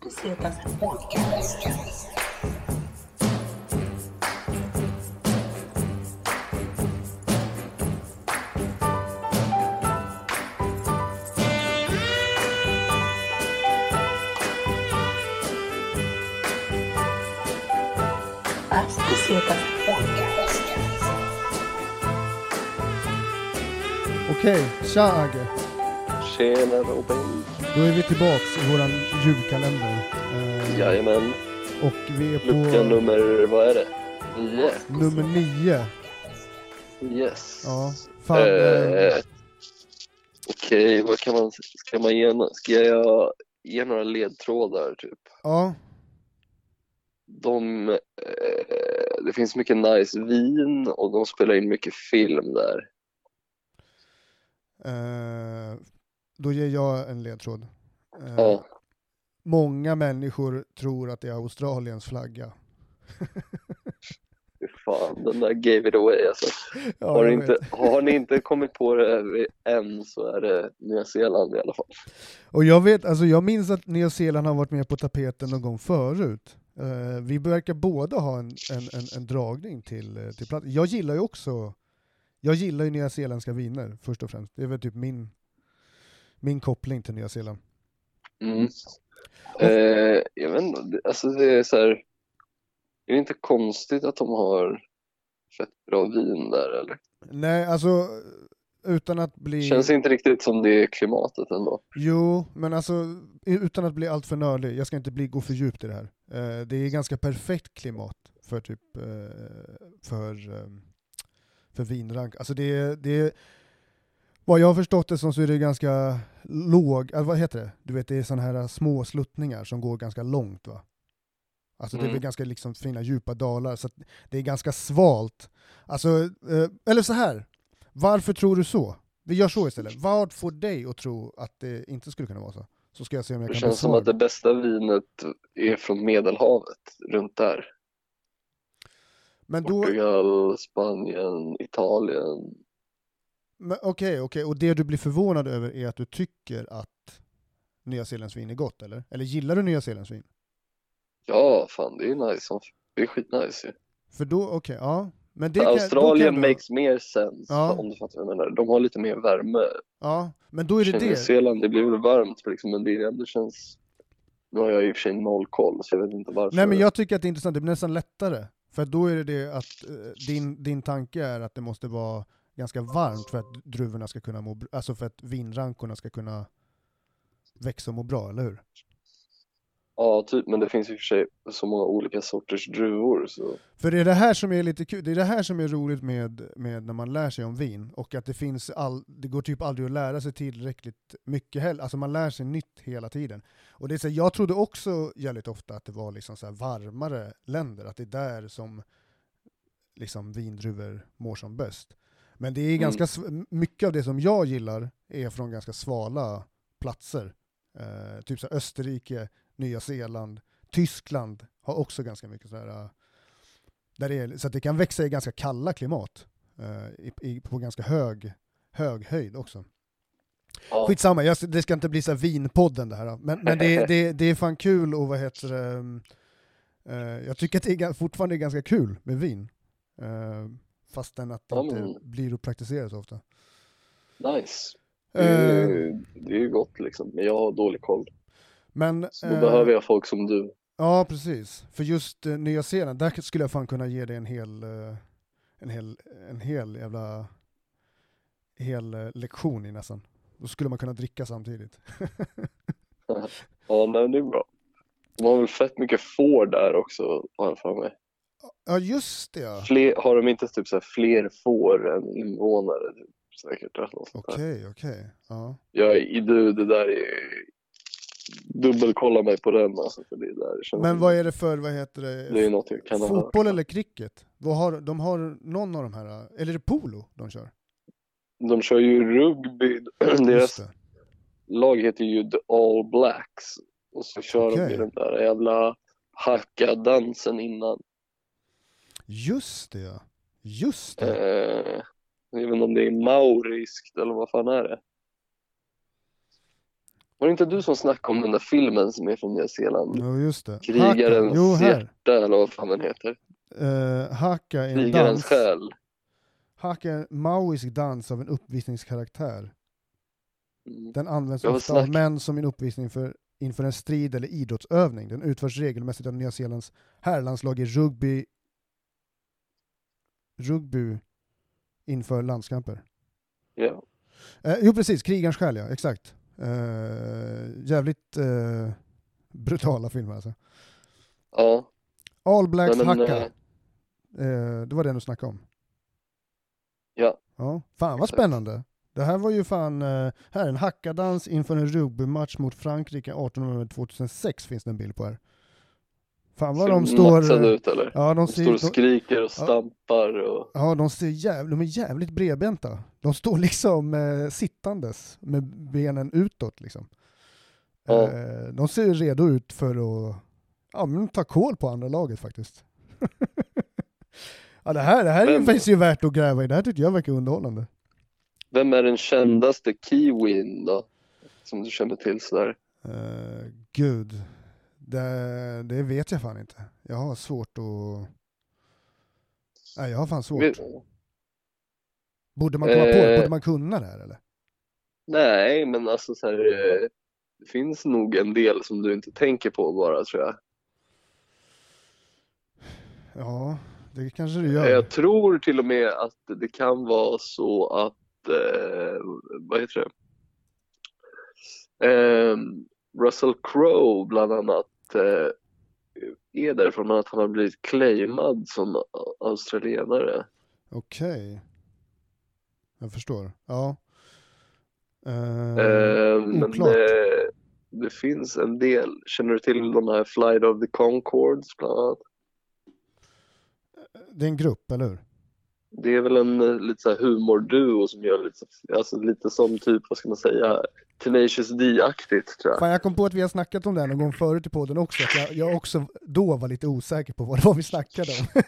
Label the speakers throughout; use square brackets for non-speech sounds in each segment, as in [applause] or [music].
Speaker 1: Du ser att han satt fast. Du ser att han
Speaker 2: Okej, tja Agge.
Speaker 3: Tjena Robin.
Speaker 2: Då är vi tillbaks i våran julkalender. Eh,
Speaker 3: Jajamän.
Speaker 2: och vi är på
Speaker 3: Lucka nummer, vad är det? Nio?
Speaker 2: nummer nio.
Speaker 3: Yes.
Speaker 2: Ja, fan.
Speaker 3: Eh,
Speaker 2: Eh,
Speaker 3: Okej, vad kan man, ska man ge, nå- ska jag ge några ledtrådar typ?
Speaker 2: ja,
Speaker 3: De, eh, det finns mycket nice vin och de spelar in mycket film där.
Speaker 2: eh, då ger jag en ledtråd. Eh,
Speaker 3: Ja,
Speaker 2: Många människor tror att det är Australiens flagga.
Speaker 3: fy fan, den där gave it away alltså.
Speaker 2: Ja,
Speaker 3: Har,
Speaker 2: jag
Speaker 3: ni
Speaker 2: vet.
Speaker 3: inte, har ni inte kommit på det än så är det Nya Zeeland i alla fall.
Speaker 2: Och jag vet, alltså jag minns att Nya Zeeland har varit med på tapeten någon gång förut. Eh, vi verkar båda ha en, en, en, en dragning till, eh, till platsen. Jag gillar ju också, jag gillar ju Nya Zeeländska viner först och främst. Det är väl typ min, min koppling till Nya Zeeland.
Speaker 3: Mm. Eh, jag vet inte, det- alltså det är så här, är det inte konstigt att de har fett bra vin där eller?
Speaker 2: Nej, alltså utan att bli...
Speaker 3: Känns inte riktigt som det är klimatet ändå.
Speaker 2: Jo, men alltså utan att bli alltför nördig, jag ska inte bli, gå för djupt i det här. Eh, det är ganska perfekt klimat för typ eh, för, eh, för vinrank. Alltså det är, det är, vad jag har förstått det som så är det ganska låg, eller vad heter det? Du vet det är sådana här eh, små sluttningar som går ganska långt va? Alltså det är väl
Speaker 3: Mm.
Speaker 2: ganska liksom fina djupa dalar, så att det är ganska svalt. Alltså, eh, eller så här. varför tror du så? Vi gör så istället. Vad får dig att tro att det inte skulle kunna vara så? Så ska jag se om jag
Speaker 3: Det
Speaker 2: kan
Speaker 3: känns som
Speaker 2: besvara
Speaker 3: att det bästa vinet är från Medelhavet, runt där.
Speaker 2: Men då, men
Speaker 3: Portugal, Spanien, Italien.
Speaker 2: okej, okej, och det du blir förvånad över är att du tycker att Nya Zeelands vin är gott, eller? Eller gillar du Nya Zeelands vin?
Speaker 3: Ja, fan det är ju nice. som- Det är skitnice ju.
Speaker 2: För då, okej, ja. Men det
Speaker 3: Men
Speaker 2: kan, då
Speaker 3: Australien
Speaker 2: kan du,
Speaker 3: makes mer sense
Speaker 2: Ja.
Speaker 3: om du fattar vad jag menar. De har lite mer värme.
Speaker 2: Ja, men då är det
Speaker 3: Nya
Speaker 2: det.
Speaker 3: Zeeland, det blir väl varmt liksom, men det är ändå känns... Nu har jag i och för sig noll koll så jag vet inte varför.
Speaker 2: Nej men jag tycker att det är intressant, det blir nästan lättare. För då är det det att eh, din, din tanke är att det måste vara ganska varmt för att druvorna ska kunna må br- alltså för att vinrankorna ska kunna växa och må bra, eller hur?
Speaker 3: Ja, typ, men det finns i och för sig så många olika sorters druvor så...
Speaker 2: För det är det här som är lite kul, det är det här som är roligt med, med när man lär sig om vin och att det finns all, det går typ aldrig att lära sig tillräckligt mycket heller, alltså man lär sig nytt hela tiden. Och det är så här, jag trodde också jävligt ofta att det var liksom så här varmare länder, att det är där som liksom vindruvor mår som bäst. Men det är ganska, sv- mycket av det som jag gillar är från ganska svala platser. Eh, typ så här Österrike, Nya Zeeland, Tyskland har också ganska mycket sådär eh, där det är, så att det kan växa i ganska kalla klimat, eh, i, i, på ganska hög, hög höjd också.
Speaker 3: Ja.
Speaker 2: Skitsamma, jag, det ska inte bli så här vinpodden det här. då. Men, men
Speaker 3: [laughs]
Speaker 2: det, det, det är fan kul och vad heter det, mm, eh, jag tycker att det är, ga- fortfarande är ganska kul med vin. Eh, fastän att det
Speaker 3: Ja,
Speaker 2: inte
Speaker 3: men-
Speaker 2: blir att praktisera så ofta.
Speaker 3: Nice. Det är,
Speaker 2: Eh,
Speaker 3: ju, det är ju gott liksom, men jag har dålig koll.
Speaker 2: men,
Speaker 3: Så då
Speaker 2: eh,
Speaker 3: behöver jag folk som du.
Speaker 2: Ja, precis. För just eh, Nya Zeeland, där skulle jag fan kunna ge dig en hel, eh, en hel, en hel jävla hel eh, lektion i nästan. Då skulle man kunna dricka samtidigt.
Speaker 3: Ja, nej, det är bra. De har väl fett mycket får där också, har jag för mig.
Speaker 2: Ja, just det ja.
Speaker 3: Fler, har de inte typ så här fler får än invånare? Typ, säkert. eller något sånt där.
Speaker 2: Okej, okej. Ja.
Speaker 3: Jag, i- du, det där är... Dubbelkolla mig på den alltså, för det där känns...
Speaker 2: Men vad är det för, vad heter
Speaker 3: Det är
Speaker 2: det,
Speaker 3: något jag kan ha hört.
Speaker 2: fotboll eller cricket? Vad har, de har någon av de här, eh, eller är det polo de kör?
Speaker 3: De kör ju rugby. [clears throat] Deras
Speaker 2: Just det.
Speaker 3: lag heter ju The All Blacks. Och så kör de
Speaker 2: Okej.
Speaker 3: ju den där jävla hackadansen innan.
Speaker 2: Just det ja. Just det.
Speaker 3: Eh, jag vet inte om det är mauriskt eller vad fan är det? Var det inte du som snackade om den där filmen som är från Nya Zeeland?
Speaker 2: Jo, just det.
Speaker 3: Krigarens
Speaker 2: Jo, här.
Speaker 3: hjärta eller vad fan den heter.
Speaker 2: Eh, haka är en
Speaker 3: Krigarens
Speaker 2: dans.
Speaker 3: själ.
Speaker 2: Haka är en maoisk dans av en uppvisningskaraktär.
Speaker 3: Mm.
Speaker 2: Den används
Speaker 3: Jag har
Speaker 2: ofta av
Speaker 3: snack-
Speaker 2: män som en uppvisning för, inför en strid eller idrottsövning. Den utförs regelmässigt av Nya Zeelands herrlandslag i rugby, rugby inför landskamper.
Speaker 3: Ja.
Speaker 2: Eh, jo precis, Krigarens själ ja, exakt. Eh, jävligt eh, brutala filmer alltså.
Speaker 3: ja.
Speaker 2: All Blacks
Speaker 3: Nej, men,
Speaker 2: Hacka,
Speaker 3: eh,
Speaker 2: eh, det var den du snackade om.
Speaker 3: Ja.
Speaker 2: Ja, fan vad
Speaker 3: Exakt.
Speaker 2: spännande. Det här var ju fan, eh, här är en hackadans inför en rugbymatch mot Frankrike 18 november 2006 finns det en bild på här. Fan vad de
Speaker 3: ser
Speaker 2: står...
Speaker 3: maxade
Speaker 2: eh,
Speaker 3: ut eller?
Speaker 2: Ja, de
Speaker 3: De står och
Speaker 2: ser, de,
Speaker 3: skriker och stampar och...
Speaker 2: ja, de ser jäv, de är jävligt bredbenta. De står liksom eh, sittandes med benen utåt liksom.
Speaker 3: Ja.
Speaker 2: Eh, de ser ju redo ut för att ja, men ta koll på andra laget faktiskt. [laughs] ja, det här, det här är ju,
Speaker 3: Vem-
Speaker 2: finns ju värt att gräva i. Det här tycker jag verkar underhållande.
Speaker 3: Vem är den kändaste kiwin då? Som du känner till sådär.
Speaker 2: Eh, gud, det, det vet jag fan inte. Jag har svårt att... Nej, jag har fan svårt. Borde man komma på det?
Speaker 3: Eh.
Speaker 2: Borde man kunna det här eller?
Speaker 3: Nej, men alltså så här, eh, det finns nog en del som du inte tänker på bara tror jag.
Speaker 2: Ja, det kanske det gör.
Speaker 3: Eh, Jag tror till och med att det kan vara så att, eh, vad heter det? Ehm, Russell Crowe bland annat eh, är därifrån, men att han har blivit claimad som au- australienare.
Speaker 2: Okej. Jag förstår. Ja. Eh,
Speaker 3: Eh, men
Speaker 2: oklart.
Speaker 3: det, det finns en del, känner du till de här Flight of the Concords bland annat?
Speaker 2: Det är en grupp, eller hur?
Speaker 3: Det är väl en eh, lite så här humorduo som gör lite, så- alltså lite som typ, vad ska man säga, Tenacious D-aktigt tror jag.
Speaker 2: Fan, jag kom på att vi har snackat om det här någon gång förut i podden också. Att jag, jag också då var lite osäker på vad det var vi snackade
Speaker 3: [laughs]
Speaker 2: om.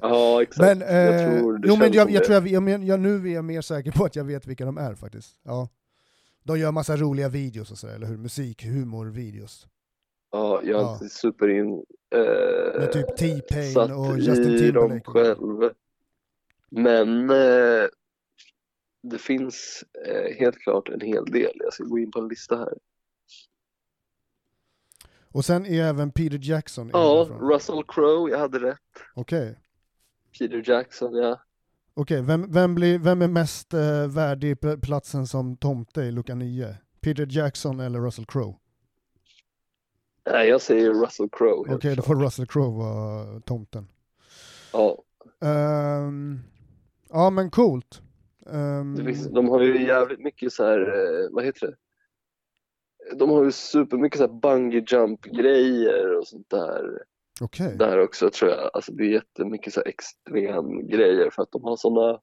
Speaker 3: Ja, exakt.
Speaker 2: men,
Speaker 3: jag
Speaker 2: eh,
Speaker 3: tror det
Speaker 2: jo, men
Speaker 3: känns
Speaker 2: jag,
Speaker 3: som
Speaker 2: jag
Speaker 3: det.
Speaker 2: tror jag, jag, men, jag, nu är jag mer säker på att jag vet vilka de är faktiskt. Ja. De gör massa roliga videos och sådär, eller hur? Musik, humor, videos.
Speaker 3: Ja, jag
Speaker 2: Ja.
Speaker 3: är inte superin... Eh,
Speaker 2: Med typ T-Pain
Speaker 3: satt
Speaker 2: och
Speaker 3: i
Speaker 2: Justin
Speaker 3: dem
Speaker 2: Timberlake.
Speaker 3: själv. Men eh, det finns eh, helt klart en hel del. Jag ska gå in på en lista här.
Speaker 2: Och sen är även Peter Jackson. är
Speaker 3: Ja,
Speaker 2: därifrån.
Speaker 3: Russell Crowe, jag hade rätt.
Speaker 2: Okej.
Speaker 3: Peter Jackson, ja.
Speaker 2: Okej, vem, vem, blir, vem är mest eh, värdig pl- platsen som tomte i lucka 9? Peter Jackson eller Russell Crowe?
Speaker 3: Nej, jag säger Russell Crowe.
Speaker 2: Okej,
Speaker 3: helt
Speaker 2: då
Speaker 3: klart.
Speaker 2: får Russell Crowe vara tomten.
Speaker 3: Ja,
Speaker 2: Ehm, ja, men coolt. Ehm,
Speaker 3: det finns, de har ju jävligt mycket så här, eh, vad heter det? De har ju supermycket så här bungee jump grejer och sånt där.
Speaker 2: Mm. Okej,
Speaker 3: där också tror jag. Alltså det är jättemycket så här extrem grejer för att de har sådana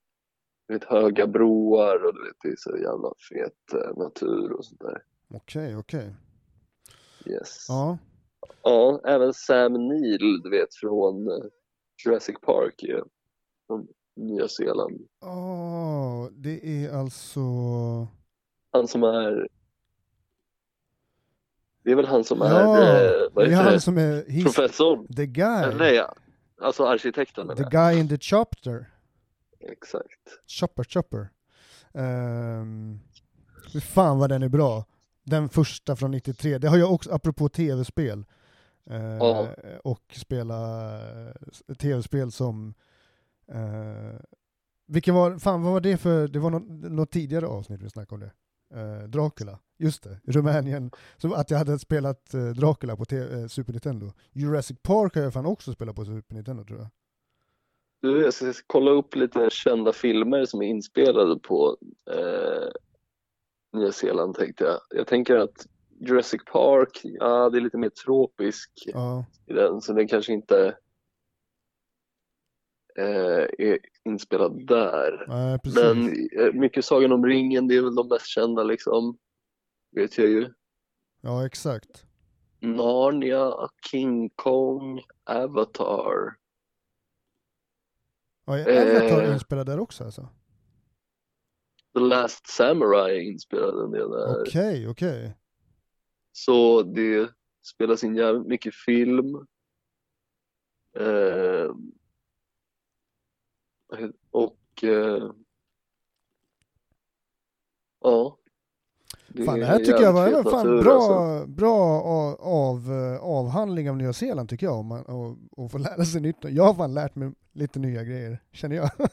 Speaker 3: vet, höga broar och du vet, det är så jävla fet eh, natur och sånt där.
Speaker 2: okej, okej.
Speaker 3: Yes.
Speaker 2: Ja,
Speaker 3: Ja, även Sam Neill du vet från eh, Jurassic Park ju. Från Nya Zeeland.
Speaker 2: Åh, det är alltså...
Speaker 3: Han som är det är väl han som är,
Speaker 2: ja,
Speaker 3: eh, vad
Speaker 2: det är
Speaker 3: heter
Speaker 2: han
Speaker 3: det,
Speaker 2: som är... He's
Speaker 3: professorn?
Speaker 2: the guy.
Speaker 3: Eller ja, alltså arkitekten. menar
Speaker 2: the
Speaker 3: jag.
Speaker 2: guy in the chopper.
Speaker 3: Exakt.
Speaker 2: Chopper, chopper. Um, fan vad den är bra. Den första från 93. Det har jag också, apropå tv-spel. Eh,
Speaker 3: Ja.
Speaker 2: Och spela eh, tv-spel som... eh, vilken var, fan vad var det för, det var något, något tidigare avsnitt vi snackade om det. Eh, Dracula, just det, Rumänien. Så att jag hade spelat eh, Dracula på te- eh, Super Nintendo. Jurassic Park har jag fan också spelat på Super Nintendo tror jag.
Speaker 3: Du, jag ska kolla upp lite kända filmer som är inspelade på eh, Nya Zeeland tänkte jag. Jag tänker att Jurassic Park, ja det är lite mer tropisk
Speaker 2: Ja.
Speaker 3: i den så den kanske inte eh, är inspelad där.
Speaker 2: nej, precis.
Speaker 3: Men eh, mycket Sagan om ringen, det är väl de mest kända liksom. Vet jag ju.
Speaker 2: Ja, exakt.
Speaker 3: Narnia, King Kong, Avatar.
Speaker 2: Ja, är Avatar
Speaker 3: Eh.
Speaker 2: inspelad där också alltså?
Speaker 3: The Last Samurai är inspelad en del där.
Speaker 2: Okej, okej.
Speaker 3: Så det spelas in jävligt mycket film. Eh, och eh, ja.
Speaker 2: Fan, det
Speaker 3: är
Speaker 2: här tycker jag
Speaker 3: jävligt
Speaker 2: var
Speaker 3: fet
Speaker 2: en fan
Speaker 3: natur,
Speaker 2: bra,
Speaker 3: alltså.
Speaker 2: bra a- av, eh, avhandling av Nya Zeeland tycker jag, om man och, och få lära sig nytt. Jag har fan lärt mig lite nya grejer, känner jag. [laughs]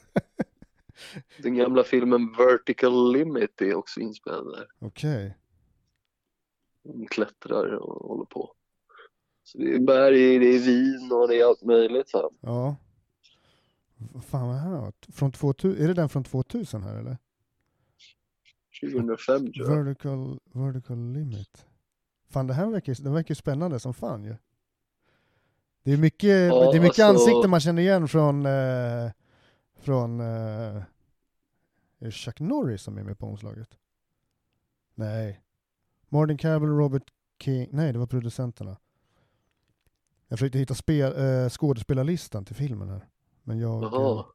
Speaker 3: Den gamla filmen Vertical Limit är också inspelad där.
Speaker 2: Okej.
Speaker 3: De klättrar och håller på. Så det är berg, det är vin och det är allt möjligt. Va?
Speaker 2: Ja. V- Fan vad här har varit. Från 2000, är det den från 2000 här eller?
Speaker 3: 2005 tror jag.
Speaker 2: Vertical, vertical limit. Fan det här verkar, det verkar spännande som fan ju. Det är mycket,
Speaker 3: Ja,
Speaker 2: det är mycket
Speaker 3: alltså-
Speaker 2: ansikten man känner igen från, eh, från eh, är det Chuck Norris som är med på omslaget? Nej. Martin Campbell och Robert King, nej det var producenterna. Jag försökte hitta spel, eh, skådespelarlistan till filmen här. Men jag...
Speaker 3: Jaha.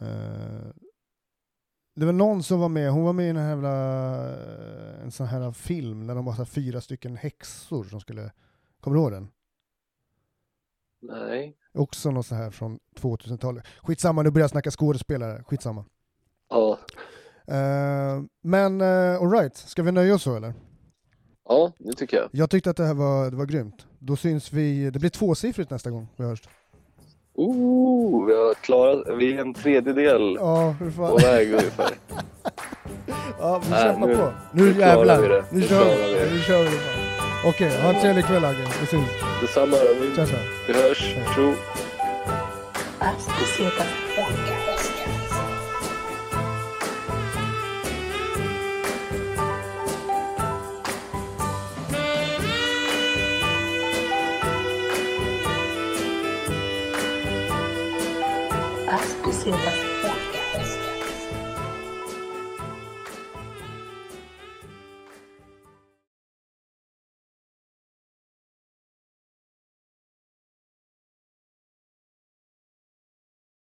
Speaker 2: Eh, det var någon som var med, hon var med i den här jävla, eh, en sån här film där de var så här fyra stycken häxor som skulle, kommer du ihåg den?
Speaker 3: Nej.
Speaker 2: Också någon sån här från 2000-talet. Skitsamma, nu börjar jag snacka skådespelare, skitsamma.
Speaker 3: Ja.
Speaker 2: Eh, men eh, alright, ska vi nöja oss så eller?
Speaker 3: ja, det tycker jag.
Speaker 2: Jag tyckte att det här var, det var grymt. Då syns vi, det blir tvåsiffrigt nästa gång vi hörs.
Speaker 3: Ooh, vi har klarat, vi är en tredjedel
Speaker 2: Ja, hur
Speaker 3: på
Speaker 2: fan.
Speaker 3: väg ungefär.
Speaker 2: Ja, vi
Speaker 3: Nej,
Speaker 2: kämpar
Speaker 3: nu-
Speaker 2: på. Nu
Speaker 3: nu klarar vi
Speaker 2: jävlar,
Speaker 3: det.
Speaker 2: nu
Speaker 3: Nu
Speaker 2: kör
Speaker 3: klarar vi
Speaker 2: vi.
Speaker 3: det.
Speaker 2: Nu kör vi. det fan. Okej, ha en trevlig kväll Agge. Vi syns.
Speaker 3: Detsamma, vi,
Speaker 2: Ciao, ciao.
Speaker 3: vi hörs. Tjo.
Speaker 1: Astronautas Podcast. Astronautas